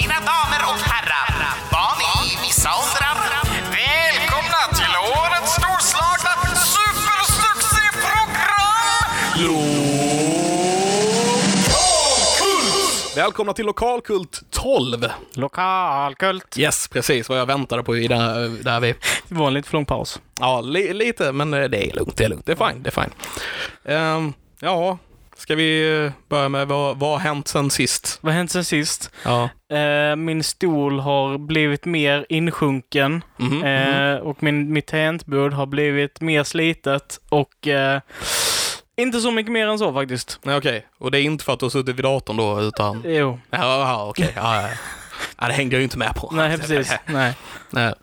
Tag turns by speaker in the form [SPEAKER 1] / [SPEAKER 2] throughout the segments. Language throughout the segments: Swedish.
[SPEAKER 1] Mina damer och herrar, barn i vissa åldrar. Välkomna till årets storslagna supersuccéprogram!
[SPEAKER 2] Välkomna till Lokalkult 12!
[SPEAKER 3] Lokalkult.
[SPEAKER 2] Yes, precis vad jag väntade på i där, där vi...
[SPEAKER 3] Det var en lite för lång paus.
[SPEAKER 2] Ja, li, lite, men eh, det är lugnt, det är lugnt. Det är fine, det är fine. Ehm, ja, ska vi eh, börja med vad, vad har hänt sen sist?
[SPEAKER 3] Vad har hänt sen sist?
[SPEAKER 2] Ja.
[SPEAKER 3] Eh, min stol har blivit mer insjunken
[SPEAKER 2] Mhm,
[SPEAKER 3] eh, och min, mitt tangentbord har blivit mer slitet och eh, inte så mycket mer än så faktiskt.
[SPEAKER 2] Nej, Okej, och det är inte för att du har suttit vid datorn då, utan...
[SPEAKER 3] Jo,
[SPEAKER 2] Ja, ja okej. Ja, ja. ja, det hängde jag ju inte med på.
[SPEAKER 3] nej precis. Nej.
[SPEAKER 2] Nej.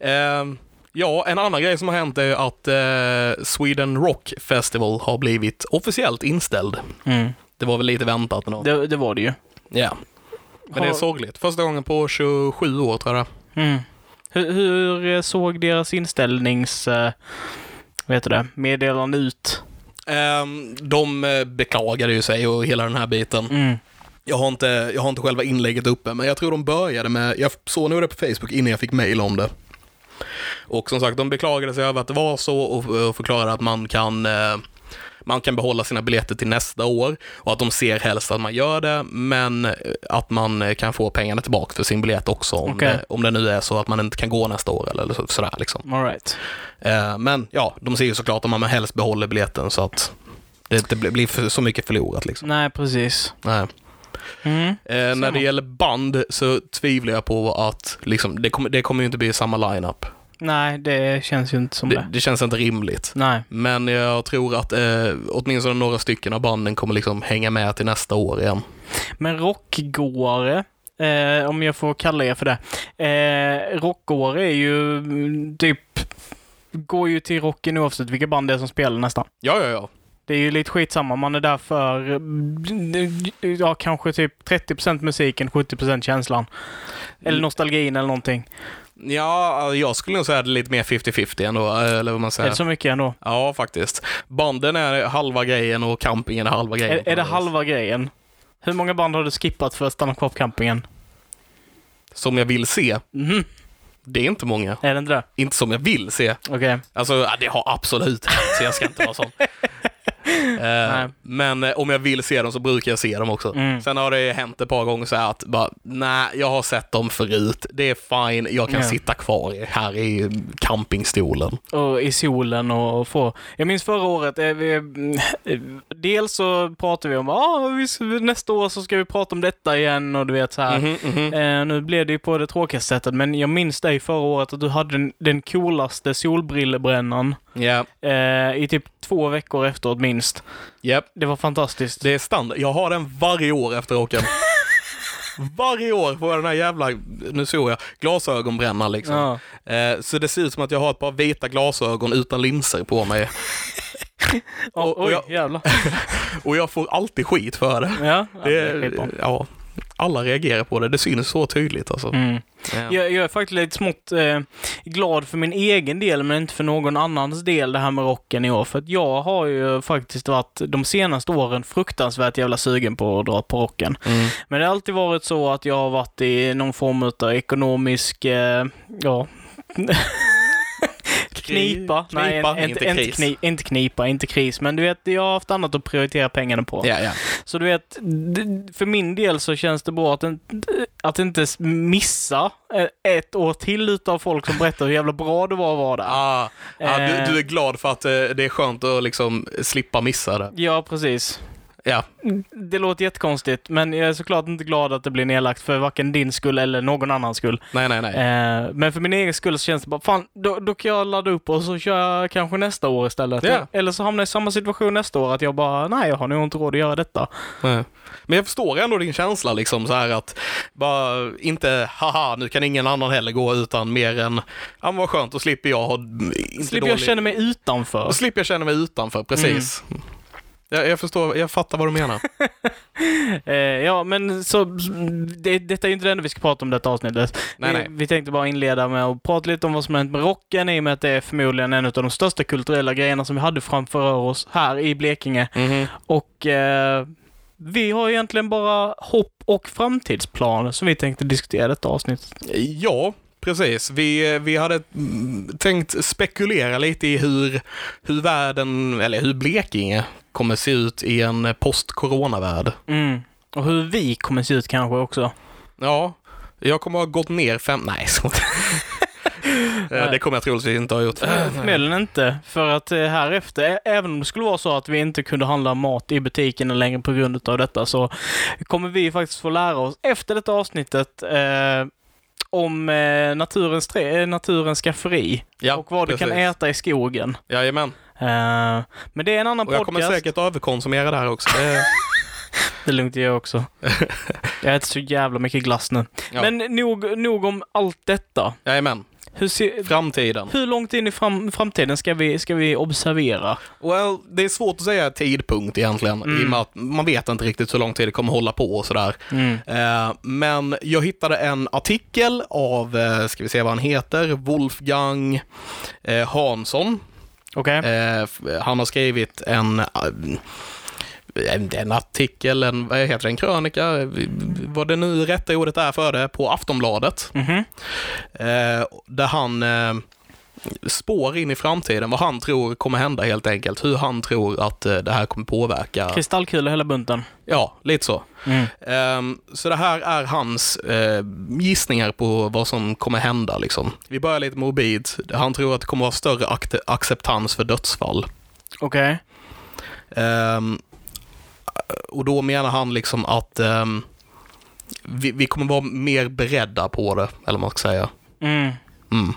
[SPEAKER 2] Ehm, ja, en annan grej som har hänt är ju att eh, Sweden Rock Festival har blivit officiellt inställd.
[SPEAKER 3] Mm.
[SPEAKER 2] Det var väl lite väntat ändå.
[SPEAKER 3] Det, det var det ju.
[SPEAKER 2] Ja. Men det är
[SPEAKER 3] Har-
[SPEAKER 2] sorgligt. Första gången på 27 år tror jag det är.
[SPEAKER 3] Mm. Hur, hur såg deras inställnings... Eh, vad heter det? Meddelande ut?
[SPEAKER 2] Ehm, de eh, beklagade ju sig och hela den här biten.
[SPEAKER 3] Mm.
[SPEAKER 2] Jag har, inte, jag har inte själva inlägget uppe, men jag tror de började med, jag såg nog det på Facebook innan jag fick mail om det. Och som sagt, de beklagade sig över att det var så och, och förklarade att man kan, eh, man kan behålla sina biljetter till nästa år och att de ser helst att man gör det, men eh, att man eh, kan få pengarna tillbaka för sin biljett också om,
[SPEAKER 3] Okej.
[SPEAKER 2] det, om det nu är så att man inte kan gå nästa år eller, eller så- sådär liksom.
[SPEAKER 3] All right.
[SPEAKER 2] Eh, Men ja, de ser ju såklart om man helst behåller biljetten så att det inte blir- blir för- så mycket förlorat liksom.
[SPEAKER 3] Nej, precis.
[SPEAKER 2] Nej.
[SPEAKER 3] Mm.
[SPEAKER 2] Eh, när det gäller band så tvivlar jag på att liksom, det, kommer, det kommer ju inte bli samma line-up.
[SPEAKER 3] Nej, det känns ju inte som
[SPEAKER 2] Det,
[SPEAKER 3] det.
[SPEAKER 2] det känns inte rimligt.
[SPEAKER 3] Nej.
[SPEAKER 2] Men jag tror att eh, åtminstone några stycken av banden kommer liksom hänga med till nästa år igen.
[SPEAKER 3] Men rockgåare, eh, om jag får kalla er för det. Eh, rockgåare är ju mm, typ, går ju till rocken oavsett vilka band det är som spelar nästan.
[SPEAKER 2] Ja, ja, ja.
[SPEAKER 3] Det är ju lite skitsamma, man är där för, mm, ja kanske typ 30% musiken, 70% känslan. Eller nostalgin eller någonting.
[SPEAKER 2] Ja, jag skulle nog säga det lite mer 50-50 ändå, eh, eller vad man
[SPEAKER 3] Är
[SPEAKER 2] säger.
[SPEAKER 3] det så mycket ändå?
[SPEAKER 2] Ja, faktiskt. Banden är halva grejen och campingen är halva grejen.
[SPEAKER 3] Är, är det halva grejen? Hur många band har du skippat för att stanna kvar på campingen?
[SPEAKER 2] Som jag vill se.
[SPEAKER 3] Mhm,
[SPEAKER 2] Det är inte många.
[SPEAKER 3] Är det inte det?
[SPEAKER 2] Inte som jag vill se.
[SPEAKER 3] Okej.
[SPEAKER 2] Alltså, ja, det har absolut hänt, så jag ska inte vara sån. Eh,
[SPEAKER 3] Nej.
[SPEAKER 2] men eh, om jag vill se dem så brukar jag se dem också.
[SPEAKER 3] Mm.
[SPEAKER 2] Sen har det hänt ett par gånger så här att bara, nej, jag har sett dem förut. Det är fine, jag kan
[SPEAKER 3] Ja.
[SPEAKER 2] sitta kvar i- här i campingstolen.
[SPEAKER 3] och i solen och få... Jag minns förra året, eh, vi, mm, dels så pratade vi om ah, vi, s- nästa år så ska vi prata om detta igen och du vet så här.
[SPEAKER 2] Mhm,
[SPEAKER 3] Eh, nu blev det ju på det tråkigaste sättet, men jag minns dig förra året att du hade den, den coolaste solbrillebrännan
[SPEAKER 2] Ja,
[SPEAKER 3] eh, i typ två veckor efteråt minst.
[SPEAKER 2] japp.
[SPEAKER 3] Det var fantastiskt.
[SPEAKER 2] Det är standard. Jag har den varje år efter åken. Varje år får jag den här jävla, nu såg jag, glasögonbrännan liksom.
[SPEAKER 3] Ja.
[SPEAKER 2] Eh, så det ser ut som att jag har ett par vita glasögon utan linser på mig.
[SPEAKER 3] Oh,
[SPEAKER 2] och
[SPEAKER 3] oj,
[SPEAKER 2] jag-
[SPEAKER 3] jävlar.
[SPEAKER 2] Och jag får alltid skit för det.
[SPEAKER 3] Ja, ja,
[SPEAKER 2] Det
[SPEAKER 3] det är skitbra.
[SPEAKER 2] ja, alla reagerar på det. Det syns så tydligt alltså.
[SPEAKER 3] Mm.
[SPEAKER 2] Ja.
[SPEAKER 3] Jag, jag är faktiskt lite smått eh, glad för min egen del, men inte för någon annans del, det här med rocken i år. För att jag har ju faktiskt varit de senaste åren fruktansvärt jävla sugen på att dra på rocken.
[SPEAKER 2] Mm.
[SPEAKER 3] Men det har alltid varit så att jag har varit i någon form av ekonomisk, eh, ja, knipa. Nej,
[SPEAKER 2] Knipa,
[SPEAKER 3] en,
[SPEAKER 2] inte
[SPEAKER 3] inte, inte,
[SPEAKER 2] kris.
[SPEAKER 3] kni, inte knipa, inte kris. Men du vet, jag har haft annat att prioritera pengarna på.
[SPEAKER 2] Ja, ja.
[SPEAKER 3] Så du vet, d- för min del så känns det bra att, en, att inte s- missa eh, ett år till utav folk som berättar hur jävla bra det var att vara där.
[SPEAKER 2] Ah, ah, du,
[SPEAKER 3] Eh.
[SPEAKER 2] du är glad för att eh, det är skönt att liksom slippa missa det.
[SPEAKER 3] Ja, precis.
[SPEAKER 2] Ja,
[SPEAKER 3] Det låter jättekonstigt, men jag är såklart inte glad att det blir nedlagt för varken din skull eller någon annans skull.
[SPEAKER 2] nej, nej, nej.
[SPEAKER 3] Eh, men för min egen skull så känns det bara, fan, då, då kan jag ladda upp och så kör jag kanske nästa år istället.
[SPEAKER 2] Ja.
[SPEAKER 3] Eller så hamnar jag i samma situation nästa år, att jag bara, nej, jag har nog inte råd att göra detta.
[SPEAKER 2] Nej. Men jag förstår ändå din känsla liksom så här att bara inte haha, nu kan ingen annan heller gå utan mer än, ja men vad skönt, då slipper jag ha mm, inte
[SPEAKER 3] Slipper jag
[SPEAKER 2] dålig-
[SPEAKER 3] känna mig Mm. utanför.
[SPEAKER 2] Då slipper jag känna mig utanför, precis. Jag, jag förstår, jag fattar vad du menar.
[SPEAKER 3] Eh, ja, men så, det, detta är ju inte det enda vi ska prata om i detta avsnittet.
[SPEAKER 2] Nej,
[SPEAKER 3] vi,
[SPEAKER 2] nej.
[SPEAKER 3] vi tänkte bara inleda med att prata lite om vad som har hänt med rocken i och med att det är förmodligen en av de största Mm-hmm. kulturella grejerna som vi hade framför oss här i Blekinge. Och eh, Vi har egentligen bara hopp och framtidsplaner som vi tänkte diskutera i detta avsnitt.
[SPEAKER 2] Ja, precis. Vi, vi hade mm, tänkt spekulera lite i hur, hur världen, eller hur Blekinge kommer se ut i en post-corona-värld.
[SPEAKER 3] Och hur vi kommer se ut kanske också.
[SPEAKER 2] Ja, jag kommer ha gått ner fem... Nej, så. Eh, Det kommer jag troligtvis inte ha gjort.
[SPEAKER 3] Förmodligen inte, för att eh, här efter, ä- även om det skulle vara så att vi inte kunde handla mat i butikerna längre på grund av detta, så kommer vi faktiskt få lära oss efter detta avsnittet eh, om eh, naturens, trä- eh, naturens skafferi
[SPEAKER 2] Ja,
[SPEAKER 3] och vad du kan
[SPEAKER 2] precis.
[SPEAKER 3] äta i skogen.
[SPEAKER 2] Jajamän.
[SPEAKER 3] Eh, men det är en annan
[SPEAKER 2] Och jag kommer
[SPEAKER 3] podcast.
[SPEAKER 2] säkert överkonsumera det här också. Eh,
[SPEAKER 3] Det är lugnt, jag också. jag äter så jävla mycket glass nu.
[SPEAKER 2] Ja.
[SPEAKER 3] Men nog, nog om allt detta.
[SPEAKER 2] Jajamän.
[SPEAKER 3] Hur, se,
[SPEAKER 2] Framtiden.
[SPEAKER 3] hur långt in i fram, framtiden ska vi, ska vi observera?
[SPEAKER 2] Well, det är svårt att säga tidpunkt egentligen,
[SPEAKER 3] Mm.
[SPEAKER 2] i och med att man vet inte riktigt hur lång tid det kommer hålla på och sådär. Eh, men jag hittade en artikel av, eh, ska vi se vad han heter, Wolfgang eh, Hansson.
[SPEAKER 3] Okej?
[SPEAKER 2] Eh, f- han har skrivit en, eh, en, en artikel, en, vad heter det, en krönika, eh, vad det nu rätta ordet är för det, på Aftonbladet.
[SPEAKER 3] Mhm.
[SPEAKER 2] Eh, där han eh, spår in i framtiden vad han tror kommer hända helt enkelt. Hur han tror att eh, det här kommer påverka.
[SPEAKER 3] Kristallkulor hela bunten.
[SPEAKER 2] Ja, lite så.
[SPEAKER 3] Mm.
[SPEAKER 2] Ehm, så det här är hans eh, gissningar på vad som kommer hända. Liksom. Vi börjar lite med obid. Han tror att det kommer vara större akt- acceptans för dödsfall.
[SPEAKER 3] Okej.
[SPEAKER 2] Ehm, och då menar han liksom att ehm, vi, vi kommer vara mer beredda på det, eller vad man ska säga.
[SPEAKER 3] Mm.
[SPEAKER 2] Mm.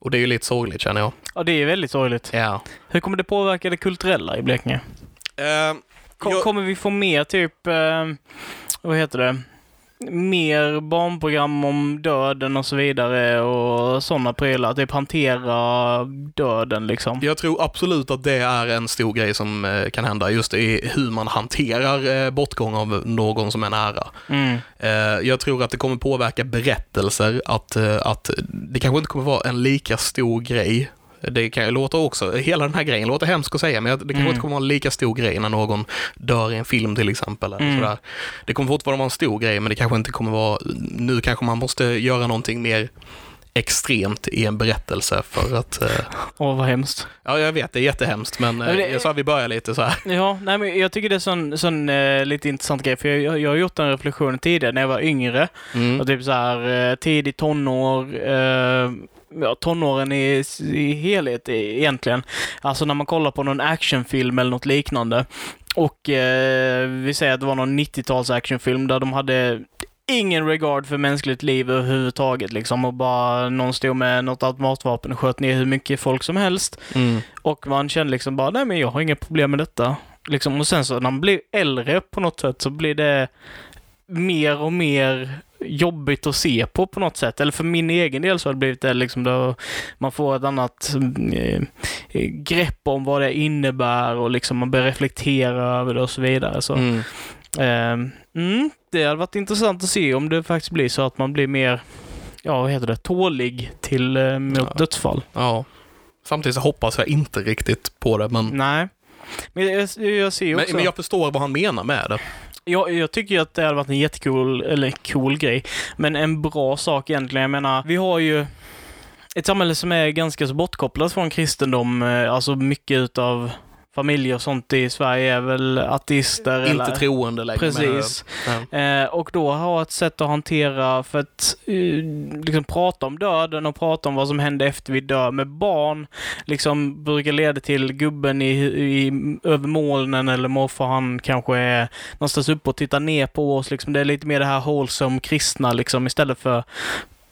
[SPEAKER 2] Och det är ju lite sorgligt känner jag.
[SPEAKER 3] Ja, det är väldigt sorgligt.
[SPEAKER 2] Ja.
[SPEAKER 3] Hur kommer det påverka det kulturella i Blekinge? Kom,
[SPEAKER 2] Ehm, jag,
[SPEAKER 3] Kommer vi få mer typ, eh, vad heter det, mer barnprogram om döden och så vidare och sådana prylar? Typ hantera döden liksom.
[SPEAKER 2] jag tror absolut att det är en stor grej som eh, kan hända, just i hur man hanterar eh, bortgång av någon som är nära.
[SPEAKER 3] Mm.
[SPEAKER 2] Eh, Jag tror att det kommer påverka berättelser, att, eh, att det kanske inte kommer vara en lika stor grej. Det kan ju låta också, hela den här grejen låter hemskt att säga, men jag- det kanske
[SPEAKER 3] Mm.
[SPEAKER 2] inte kommer vara en lika stor grej när någon dör i en film till exempel. Eller
[SPEAKER 3] Mm.
[SPEAKER 2] sådär. Det kommer fortfarande vara en stor grej, men det kanske inte kommer vara, nu kanske man måste göra någonting mer extremt i en berättelse för att, eh,
[SPEAKER 3] Åh, vad hemskt.
[SPEAKER 2] ja jag vet det är jättehemskt, men eh,
[SPEAKER 3] Men det-
[SPEAKER 2] jag sa att vi börjar lite så här.
[SPEAKER 3] Ja, nej, men jag tycker det är en sån, sån eh, lite intressant grej, för jag, jag, jag har gjort den reflektionen tidigare när jag var yngre.
[SPEAKER 2] Mm.
[SPEAKER 3] Och typ så här eh, tidig tonår, eh, ja, tonåren i, i helhet e- egentligen. Alltså när man kollar på någon actionfilm eller något liknande. Och eh, vi säger att det var någon 90-tals actionfilm där de hade ingen regard för mänskligt liv överhuvudtaget liksom och bara någon stod med något automatvapen och sköt ner hur mycket folk som helst.
[SPEAKER 2] Mm.
[SPEAKER 3] Och man kände liksom bara, nej men jag har inga problem med detta. Liksom, och sen så när man blir äldre på något sätt så blir det mer och mer jobbigt att se på på något sätt. Eller för min egen del så har det blivit det liksom då man får ett annat eh, grepp om vad det innebär och liksom man börjar reflektera över det och så vidare. Så,
[SPEAKER 2] Mm.
[SPEAKER 3] ehm, mm, det hade varit intressant att se om det faktiskt blir så att man blir mer, ja vad heter det, tålig till eh, mot
[SPEAKER 2] Ja.
[SPEAKER 3] dödsfall.
[SPEAKER 2] Ja. Samtidigt så hoppas jag inte riktigt på det, men
[SPEAKER 3] Nej. Men jag, jag, jag ser ju
[SPEAKER 2] Mm. Men,
[SPEAKER 3] också...
[SPEAKER 2] men
[SPEAKER 3] jag...
[SPEAKER 2] jag förstår vad han menar med det.
[SPEAKER 3] Jag, tycker ju att det hade varit en jättecool, eller cool grej, men en bra sak egentligen. Jag menar, vi har ju ett samhälle som är ganska så bortkopplat från kristendom. eh, Alltså mycket utav familjer och sånt i Sverige är väl ateister.
[SPEAKER 2] Inte
[SPEAKER 3] eller...
[SPEAKER 2] troende längre.
[SPEAKER 3] Precis.
[SPEAKER 2] Men,
[SPEAKER 3] Eh, och då ha ett sätt att hantera, för att eh, liksom prata om döden och prata om vad som händer efter vi dör med barn, liksom brukar leda till gubben i, i, över molnen eller morfar han kanske är någonstans uppe och tittar ner på oss. Liksom. Det är lite mer det här wholesome kristna liksom, istället för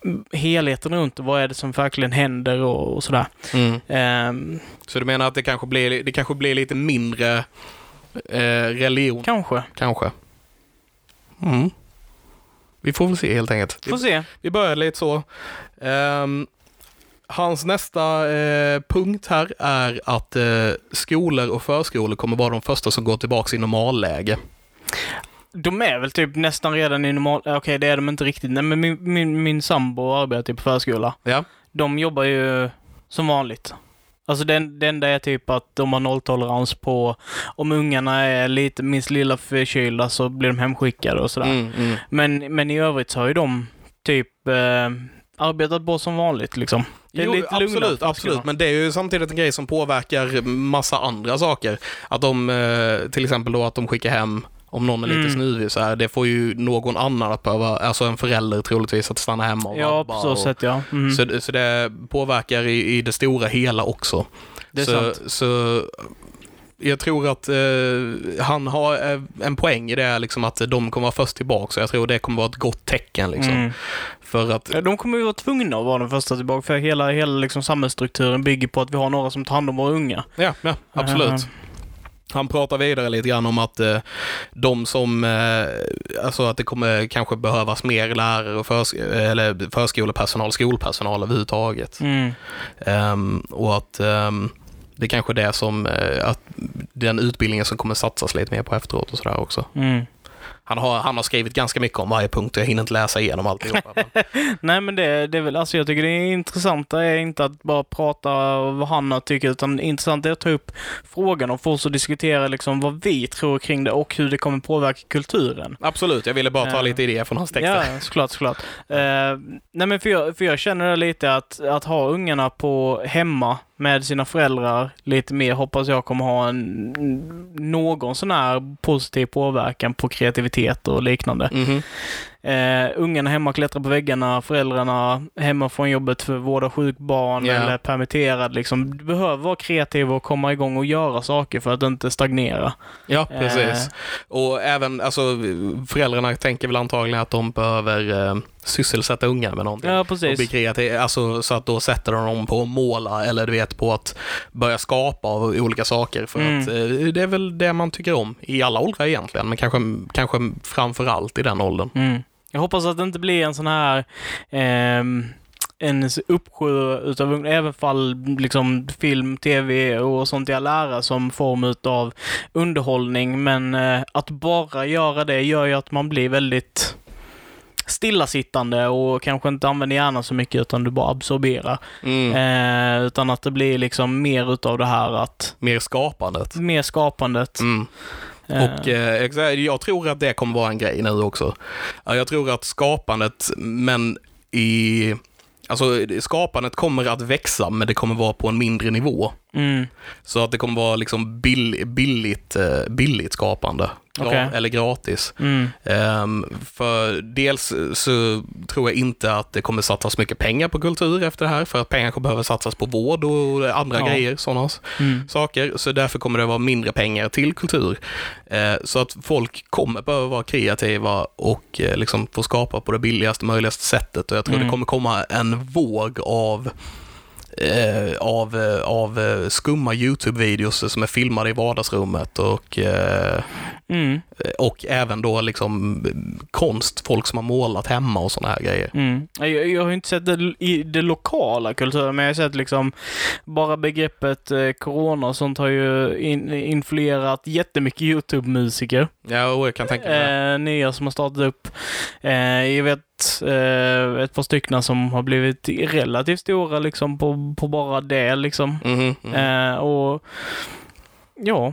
[SPEAKER 3] mm, helheten runt vad är det som verkligen händer och, och sådär.
[SPEAKER 2] ja. mm.
[SPEAKER 3] Ehm,
[SPEAKER 2] Så du menar att det kanske blir, det kanske blir lite mindre eh, religion,
[SPEAKER 3] kanske.
[SPEAKER 2] kanske? Mm. Vi får väl se helt enkelt.
[SPEAKER 3] Får se.
[SPEAKER 2] Vi börjar lite så. Ehm, hans nästa eh, punkt här är att eh, skolor och förskolor kommer vara de första som går tillbaka i normalläge.
[SPEAKER 3] De är väl typ nästan redan i normal... Okej, det är de inte riktigt. Nej, men min, min, min sambo arbetar ju på förskola.
[SPEAKER 2] Ja.
[SPEAKER 3] De jobbar ju som vanligt. Alltså den, den där är typ att de har nolltolerans på om ungarna är lite minst lilla förkylda så blir de hemskickade och sådär.
[SPEAKER 2] Mm, mm.
[SPEAKER 3] Men, men i övrigt så har ju de typ eh, arbetat på som vanligt liksom. Det är
[SPEAKER 2] Jo,
[SPEAKER 3] lite lugnare,
[SPEAKER 2] absolut,
[SPEAKER 3] ska det
[SPEAKER 2] absolut.
[SPEAKER 3] vara.
[SPEAKER 2] Men det är ju samtidigt en grej som påverkar massa andra saker. Att de, eh, till exempel då att de skickar hem om någon är lite
[SPEAKER 3] Mm.
[SPEAKER 2] snuvig så här, det får ju någon annan att behöva, alltså en förälder troligtvis, att stanna hemma och
[SPEAKER 3] Ja,
[SPEAKER 2] vabba
[SPEAKER 3] på så
[SPEAKER 2] och,
[SPEAKER 3] sätt ja. Mm.
[SPEAKER 2] Så, det- så det påverkar i, i det stora hela också.
[SPEAKER 3] Det är
[SPEAKER 2] så,
[SPEAKER 3] sant.
[SPEAKER 2] så eh, jag tror att eh, han har eh, en poäng i det, liksom att de kommer vara först tillbaka. Så jag tror det kommer vara ett gott tecken. Liksom.
[SPEAKER 3] Mm.
[SPEAKER 2] För att
[SPEAKER 3] Ja, De kommer ju vara tvungna att vara de första tillbaka för hela, hela liksom samhällsstrukturen bygger på att vi har några som tar hand om våra unga.
[SPEAKER 2] Ja, ja absolut.
[SPEAKER 3] Eh,
[SPEAKER 2] Han pratar vidare lite grann om att eh, de som, eh, alltså att det kommer kanske behövas mer lärare och förs- eh, eller förskolepersonal, skolpersonal överhuvudtaget.
[SPEAKER 3] Mm.
[SPEAKER 2] Ehm, och att ehm, det kanske är det som, eh, att den utbildningen som kommer satsas lite mer på efteråt och sådär också.
[SPEAKER 3] Mm.
[SPEAKER 2] Han har, han har skrivit ganska mycket om varje punkt och jag hinner inte läsa igenom alltihopa. men-
[SPEAKER 3] Nej men det, det är väl, alltså jag tycker det intressanta är inte att bara prata om vad han tycker utan det intressanta är att ta upp frågan och få oss att diskutera liksom vad vi tror kring det och hur det kommer påverka kulturen.
[SPEAKER 2] Absolut, jag ville bara ta
[SPEAKER 3] Ja.
[SPEAKER 2] lite idéer från hans texter.
[SPEAKER 3] Ja, såklart, såklart. Eh, nej men för jag, för jag känner det lite att, att ha ungarna på hemma med sina föräldrar lite mer hoppas jag kommer ha en, någon sån här positiv påverkan på kreativitet och liknande.
[SPEAKER 2] Mhm.
[SPEAKER 3] Eh, ungarna hemma klättrar på väggarna, föräldrarna hemma från jobbet för att vårda sjuk barn
[SPEAKER 2] Ja.
[SPEAKER 3] eller permitterad. Liksom. Du behöver vara kreativ och komma igång och göra saker för att inte stagnera.
[SPEAKER 2] Ja, precis. Och även, alltså föräldrarna tänker väl antagligen att de behöver eh, sysselsätta unga med någonting.
[SPEAKER 3] Ja,
[SPEAKER 2] Och bli
[SPEAKER 3] precis.
[SPEAKER 2] kreativ, alltså, så att då sätter de dem på att måla eller du vet på att börja skapa av olika saker. För
[SPEAKER 3] Mm.
[SPEAKER 2] att eh, det är väl det man tycker om i alla åldrar egentligen, men kanske, kanske framför allt i den åldern.
[SPEAKER 3] Mm. Jag hoppas att det inte blir en sån här ehm, en uppsjö utav ung- även fall liksom film, tv och sånt jag lära som form utav underhållning. Men eh, att bara göra det gör ju att man blir väldigt stillasittande och kanske inte använder hjärnan så mycket utan du bara absorberar.
[SPEAKER 2] Mm.
[SPEAKER 3] Eh, utan att det blir liksom mer utav det här att
[SPEAKER 2] Mer skapandet.
[SPEAKER 3] mer skapandet.
[SPEAKER 2] Mm. Och eh, exa- jag tror att det kommer vara en grej nu också. Ja, Jag tror att skapandet, men i... Alltså skapandet kommer att växa, men det kommer vara på en mindre nivå.
[SPEAKER 3] Mm.
[SPEAKER 2] Så att det kommer vara liksom bill, billigt, eh, billigt skapande. Gra-
[SPEAKER 3] Okej.
[SPEAKER 2] Eller gratis.
[SPEAKER 3] Mm.
[SPEAKER 2] Ehm, för dels så tror jag inte att det kommer satsas mycket pengar på kultur efter det här, för att pengar kommer behöva satsas på vård och andra
[SPEAKER 3] Ja.
[SPEAKER 2] grejer, sådana
[SPEAKER 3] Mm.
[SPEAKER 2] saker. Så därför kommer det vara mindre pengar till kultur. Eh, så att folk kommer behöva vara kreativa och eh, liksom få skapa på det billigaste möjligaste sättet. Och jag tror
[SPEAKER 3] Mm.
[SPEAKER 2] det kommer komma en våg av eh, av, eh, av eh, skumma YouTube-videos som är filmade i vardagsrummet och eh,
[SPEAKER 3] Mm.
[SPEAKER 2] och även då liksom eh, konst, folk som har målat hemma och sådana här grejer.
[SPEAKER 3] Mm. Jag, jag har ju inte sett det i det lokala kulturen, men jag har sett liksom bara begreppet eh, corona och sånt har ju in, influerat jättemycket YouTube-musiker.
[SPEAKER 2] Ja, och jag kan tänka mig det.
[SPEAKER 3] Eh, nya som har startat upp. Eh, jag vet eh, ett par stycken som har blivit relativt stora liksom på, på bara det liksom.
[SPEAKER 2] Mhm, mhm.
[SPEAKER 3] Eh, och ja,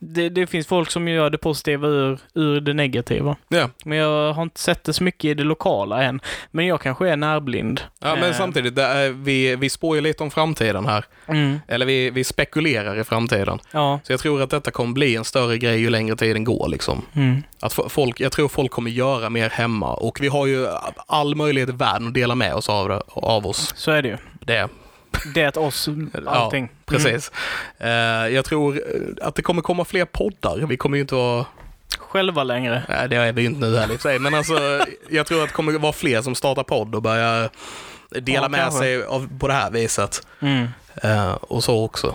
[SPEAKER 3] det, det finns folk som gör det positiva ur, ur det negativa.
[SPEAKER 2] Ja.
[SPEAKER 3] Men jag har inte sett det så mycket i det lokala än. Men jag kanske är närblind.
[SPEAKER 2] ja, men
[SPEAKER 3] Eh,
[SPEAKER 2] samtidigt, det är, vi, vi spår ju lite om framtiden här.
[SPEAKER 3] Mm,
[SPEAKER 2] Eller vi, vi spekulerar i framtiden.
[SPEAKER 3] ja.
[SPEAKER 2] Så jag tror att detta kommer bli en större grej ju längre tiden går. Liksom.
[SPEAKER 3] Mm.
[SPEAKER 2] Att fo- folk, jag tror folk kommer göra mer hemma och vi har ju all möjlighet i världen att dela med oss av, det- av oss.
[SPEAKER 3] Så är det ju.
[SPEAKER 2] Det,
[SPEAKER 3] Det är ett oss, allting. Mm.
[SPEAKER 2] precis. Eh, jag tror eh, att det kommer komma fler poddar. Vi kommer ju inte vara
[SPEAKER 3] Själva längre.
[SPEAKER 2] Nej, det är vi ju inte nu heller i och för sig. Men alltså, jag tror att det kommer vara fler som startar podd och börjar dela
[SPEAKER 3] Ja,
[SPEAKER 2] med
[SPEAKER 3] kanske.
[SPEAKER 2] sig av, på det här viset.
[SPEAKER 3] Mm.
[SPEAKER 2] Eh, och så också.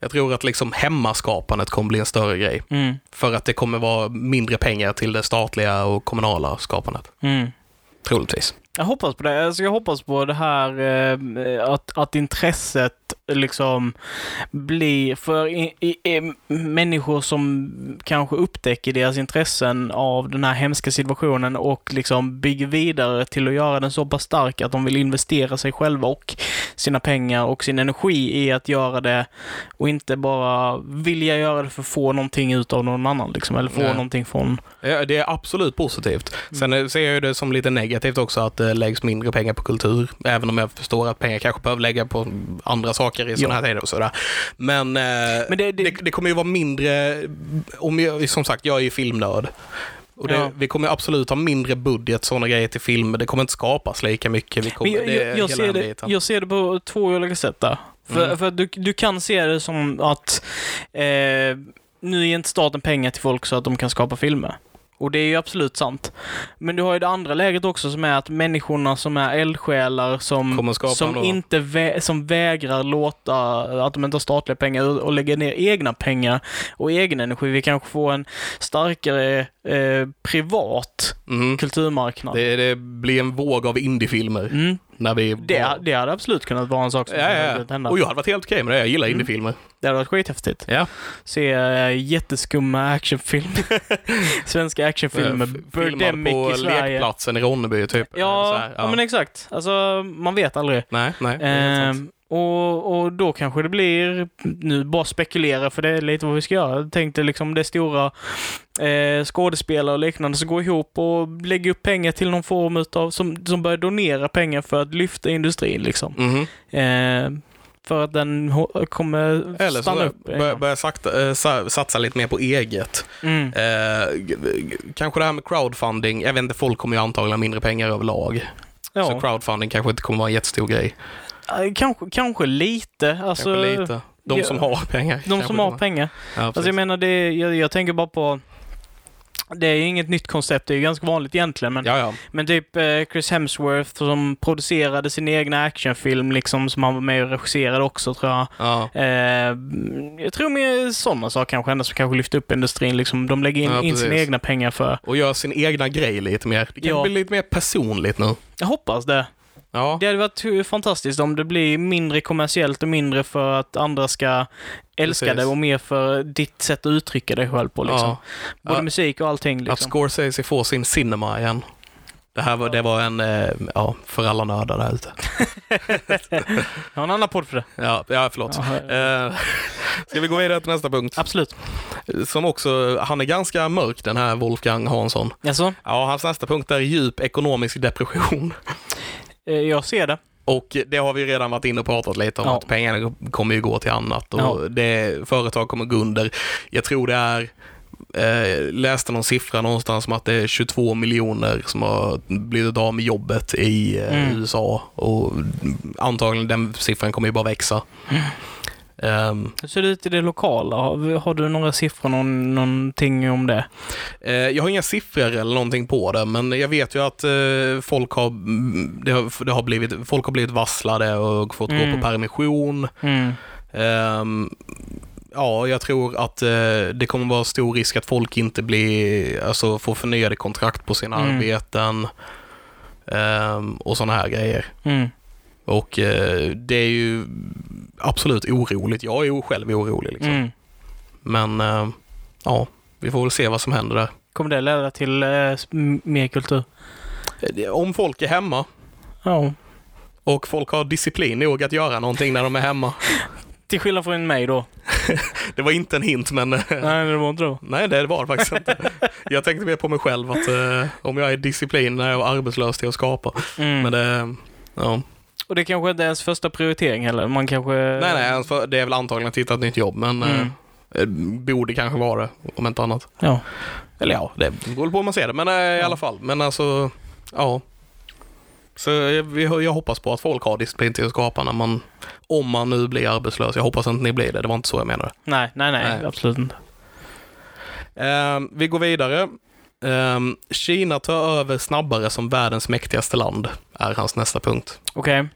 [SPEAKER 2] Jag tror att liksom hemmaskapandet kommer bli en större grej.
[SPEAKER 3] Mm.
[SPEAKER 2] För att det kommer vara mindre pengar till det statliga och kommunala skapandet.
[SPEAKER 3] Mm.
[SPEAKER 2] Troligtvis.
[SPEAKER 3] Jag hoppas på det. Alltså jag hoppas på det här eh, att, att intresset liksom blir för i, i, i, människor som kanske upptäcker deras intressen av den här hemska situationen och liksom bygger vidare till att göra den så pass stark att de vill investera sig själva och sina pengar och sin energi i att göra det och inte bara vilja göra det för att få någonting ut av någon annan liksom, eller få
[SPEAKER 2] Nej.
[SPEAKER 3] någonting från...
[SPEAKER 2] Ja, det är absolut positivt. Sen eh, ser jag ju det som lite negativt också att det läggs mindre pengar på kultur, även om jag förstår att pengar kanske behöver lägga på andra saker i sådana här tider och sådär. Men, eh,
[SPEAKER 3] Men
[SPEAKER 2] det,
[SPEAKER 3] det-
[SPEAKER 2] det,
[SPEAKER 3] det-
[SPEAKER 2] kommer ju vara mindre, om jag, som sagt, jag är ju filmnörd. Och det,
[SPEAKER 3] Ja.
[SPEAKER 2] Vi kommer absolut ha mindre budget, sådana grejer till filmer. Det kommer inte skapas lika mycket. Vi kommer,
[SPEAKER 3] Men jag,
[SPEAKER 2] det,
[SPEAKER 3] jag, jag,
[SPEAKER 2] hela Mm.
[SPEAKER 3] ser
[SPEAKER 2] den
[SPEAKER 3] det,
[SPEAKER 2] biten.
[SPEAKER 3] jag ser det på två olika sätt där. För, för att du, du kan se det som att eh, nu ger inte staten pengar till folk så att de kan skapa filmer. Och det är ju absolut sant. Men du har ju det andra läget också som är att människorna som är eldsjälar
[SPEAKER 2] Kommer
[SPEAKER 3] som,
[SPEAKER 2] att skapa
[SPEAKER 3] som,
[SPEAKER 2] något.
[SPEAKER 3] inte vä- som vägrar låta att de inte har statliga pengar och och lägger ner egna pengar och egen energi. Vi kanske får en starkare eh, privat
[SPEAKER 2] Mm.
[SPEAKER 3] kulturmarknad.
[SPEAKER 2] Det, det blir en våg av indiefilmer.
[SPEAKER 3] Mm.
[SPEAKER 2] När vi
[SPEAKER 3] Det, det hade absolut kunnat vara en sak som
[SPEAKER 2] Ja,
[SPEAKER 3] hade
[SPEAKER 2] ja,
[SPEAKER 3] kunnat
[SPEAKER 2] ja.
[SPEAKER 3] hända.
[SPEAKER 2] Och jag hade varit helt okej med det. Jag
[SPEAKER 3] Mm.
[SPEAKER 2] gillar indiefilmer.
[SPEAKER 3] Det hade varit skithäftigt.
[SPEAKER 2] Ja.
[SPEAKER 3] Se eh, jätteskumma actionfilmer. Svenska actionfilmer.
[SPEAKER 2] Eh, f-
[SPEAKER 3] Birdemic
[SPEAKER 2] filmade
[SPEAKER 3] i Sverige.
[SPEAKER 2] lekplatsen i Ronneby typ. Eller så
[SPEAKER 3] Ja,
[SPEAKER 2] här,
[SPEAKER 3] ja, men exakt. Alltså, man vet aldrig.
[SPEAKER 2] Nej, nej. det är helt sant.
[SPEAKER 3] Ehm, och, och då kanske det blir, nu bara spekulera för det är lite vad vi ska göra. Jag tänkte liksom det stora eh, skådespelare och liknande som går ihop och lägger upp pengar till någon form utav, som, som börjar donera pengar för att lyfta industrin liksom.
[SPEAKER 2] Mhm.
[SPEAKER 3] Eh, för att den hå- kommer
[SPEAKER 2] Eller så
[SPEAKER 3] stanna
[SPEAKER 2] där,
[SPEAKER 3] upp. en
[SPEAKER 2] bör,
[SPEAKER 3] gång.
[SPEAKER 2] börja sakta, eh, sa- satsa lite mer på eget.
[SPEAKER 3] Mm.
[SPEAKER 2] Eh, g- g- kanske det här med crowdfunding. Jag vet inte, folk kommer ju antagligen ha mindre pengar överlag. Så
[SPEAKER 3] Ja,
[SPEAKER 2] crowdfunding kanske inte kommer vara en jättestor grej.
[SPEAKER 3] Eh, kanske, kanske lite. Alltså,
[SPEAKER 2] Kanske lite. De
[SPEAKER 3] ja,
[SPEAKER 2] som har pengar.
[SPEAKER 3] De
[SPEAKER 2] kanske
[SPEAKER 3] som har
[SPEAKER 2] kommer-
[SPEAKER 3] pengar.
[SPEAKER 2] Ja,
[SPEAKER 3] Alltså jag
[SPEAKER 2] precis.
[SPEAKER 3] menar, det, är- jag, jag tänker bara på det är ju inget nytt koncept, det är ju ganska vanligt egentligen. Men,
[SPEAKER 2] ja, ja.
[SPEAKER 3] men typ eh, Chris Hemsworth som producerade sin egna actionfilm liksom, som han var med och regisserade också tror jag.
[SPEAKER 2] ja.
[SPEAKER 3] Eh, jag tror mer sådana saker kanske, ändå som kanske lyfter upp industrin. Liksom, de lägger in,
[SPEAKER 2] Ja,
[SPEAKER 3] in sina
[SPEAKER 2] precis.
[SPEAKER 3] egna pengar för.
[SPEAKER 2] Och göra sin egna grej lite mer. Det kan
[SPEAKER 3] Ja.
[SPEAKER 2] bli lite mer personligt nu.
[SPEAKER 3] Jag hoppas det.
[SPEAKER 2] Ja.
[SPEAKER 3] Det hade varit hu- fantastiskt om det blir mindre kommersiellt och mindre för att andra ska älska
[SPEAKER 2] Precis.
[SPEAKER 3] det och mer för ditt sätt att uttrycka dig själv på. Liksom.
[SPEAKER 2] Ja.
[SPEAKER 3] Både
[SPEAKER 2] Ja.
[SPEAKER 3] musik och allting.
[SPEAKER 2] Att
[SPEAKER 3] Liksom.
[SPEAKER 2] Scorsese får sin cinema igen. Det här var, det var en, eh, ja, för alla nördar där ute.
[SPEAKER 3] Jag har en annan podd för det.
[SPEAKER 2] Ja, ja förlåt.
[SPEAKER 3] Ja,
[SPEAKER 2] Eh, ska vi gå vidare till nästa punkt?
[SPEAKER 3] Absolut.
[SPEAKER 2] Som också, han är ganska mörk den här Wolfgang Hansson.
[SPEAKER 3] Alltså,
[SPEAKER 2] Ja, hans nästa punkt är djup ekonomisk depression.
[SPEAKER 3] eh, jag ser det.
[SPEAKER 2] Och det har vi redan varit inne och pratat lite om,
[SPEAKER 3] Ja.
[SPEAKER 2] att pengarna kommer ju gå till annat och
[SPEAKER 3] Ja.
[SPEAKER 2] det, företag kommer gå under. Jag tror det är, eh, läste någon siffra någonstans om att det är 22 miljoner som har blivit av med jobbet i eh,
[SPEAKER 3] Mm.
[SPEAKER 2] USA och antagligen den siffran kommer ju bara växa. Ehm,
[SPEAKER 3] Hur ser det ut i det lokala? Har, har du några siffror, någon, någonting om det?
[SPEAKER 2] Eh, Jag har inga siffror eller någonting på det, men jag vet ju att eh, folk har, mm, det har, det har, blivit, folk har blivit vasslade och fått gå
[SPEAKER 3] Mm.
[SPEAKER 2] på permission.
[SPEAKER 3] Mm.
[SPEAKER 2] Ehm, ja, jag tror att eh, det kommer vara stor risk att folk inte blir, alltså, får förnyade kontrakt på sina
[SPEAKER 3] Mm.
[SPEAKER 2] arbeten ehm, och sådana här grejer.
[SPEAKER 3] Mm.
[SPEAKER 2] Och eh, det är ju absolut oroligt. Jag är ju själv orolig. Liksom.
[SPEAKER 3] Mm.
[SPEAKER 2] Men eh, ja, vi får väl se vad som händer där.
[SPEAKER 3] Kommer det leda till eh, m- mer kultur?
[SPEAKER 2] Eh, Om folk är hemma
[SPEAKER 3] Ja.
[SPEAKER 2] Och folk har disciplin nog att göra någonting när de är hemma.
[SPEAKER 3] Till skillnad från mig då.
[SPEAKER 2] Det var inte en hint, men eh,
[SPEAKER 3] Nej, det var inte då.
[SPEAKER 2] nej, det var det faktiskt inte. Jag tänkte mer på mig själv, att eh, om jag är disciplin när jag är arbetslös till att skapa.
[SPEAKER 3] Mm.
[SPEAKER 2] Men det, ja.
[SPEAKER 3] Och det kanske inte är ens första prioritering heller. Man kanske...
[SPEAKER 2] Nej, nej, ens för- det är väl antagligen att hitta ett nytt jobb, men eh,
[SPEAKER 3] Eh. Mm.
[SPEAKER 2] eh, borde kanske vara det, om inte annat.
[SPEAKER 3] Ja.
[SPEAKER 2] Eller ja, det beror på hur man ser det, men eh, i alla fall. Men alltså, ja. Så jag, vi- jag hoppas på att folk har disciplin till att skapa när man, om man nu blir arbetslös. Jag hoppas inte ni blir det, det var inte så jag menade.
[SPEAKER 3] Nej, nej, nej,
[SPEAKER 2] Nej.
[SPEAKER 3] Absolut inte.
[SPEAKER 2] Ehm, vi går vidare. Ehm, Kina tar över snabbare som världens mäktigaste land, är hans nästa punkt.
[SPEAKER 3] Okej.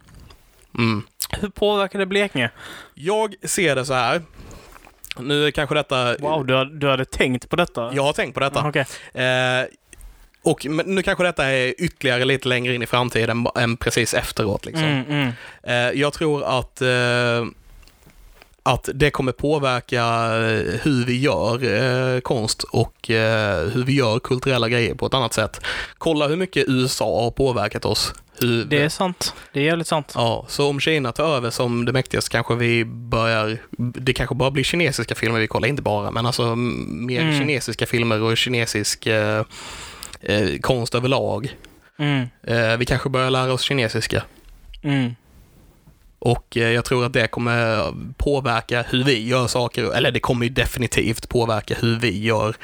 [SPEAKER 2] Mm.
[SPEAKER 3] Hur påverkar det Blekinge?
[SPEAKER 2] Jag ser det så här. Nu är kanske detta...
[SPEAKER 3] Wow, du, har- du hade tänkt på detta? Mm,
[SPEAKER 2] Jag har tänkt på detta.
[SPEAKER 3] Okej.
[SPEAKER 2] Ehm, Och men nu kanske detta är ytterligare lite längre in i framtiden än precis efteråt. Liksom.
[SPEAKER 3] Mm, mm.
[SPEAKER 2] Eh, jag tror att, eh, att det kommer påverka eh, hur vi gör eh, konst och eh, hur vi gör kulturella grejer på ett annat sätt. Kolla hur mycket USA har påverkat oss. Hur,
[SPEAKER 3] Det är sant. Det är jävligt sant.
[SPEAKER 2] Ja, så om Kina tar över som det mäktigaste kanske vi börjar, det kanske bara blir kinesiska filmer vi kollar, inte bara, men alltså m- mer
[SPEAKER 3] Mm.
[SPEAKER 2] kinesiska filmer och kinesisk eh, eh, konst överlag.
[SPEAKER 3] Mm,
[SPEAKER 2] Eh, vi kanske börjar lära oss kinesiska.
[SPEAKER 3] mm.
[SPEAKER 2] Och eh, jag tror att det kommer påverka hur vi gör saker, eller det kommer ju definitivt påverka hur vi gör